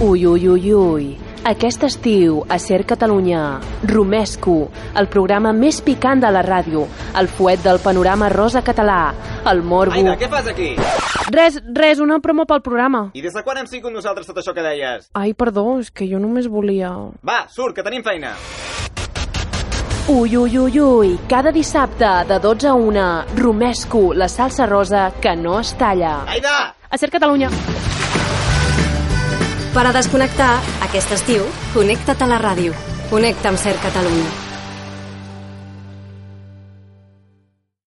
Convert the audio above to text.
Ui, ui, ui, ui. Aquest estiu, a Ser Catalunya, Romesco, el programa més picant de la ràdio, el fuet del panorama rosa català, el morbo... Aida, què fas aquí? Res, res, una promo pel programa. I des de quan hem sigut nosaltres tot això que deies? Ai, perdó, és que jo només volia... Va, surt, que tenim feina. Ui, ui, ui, ui, cada dissabte de 12 a 1, Romesco, la salsa rosa que no es talla. Aida! A Ser Catalunya. Per a desconnectar, aquest estiu, connecta't a la ràdio. Connecta amb Ser Catalunya.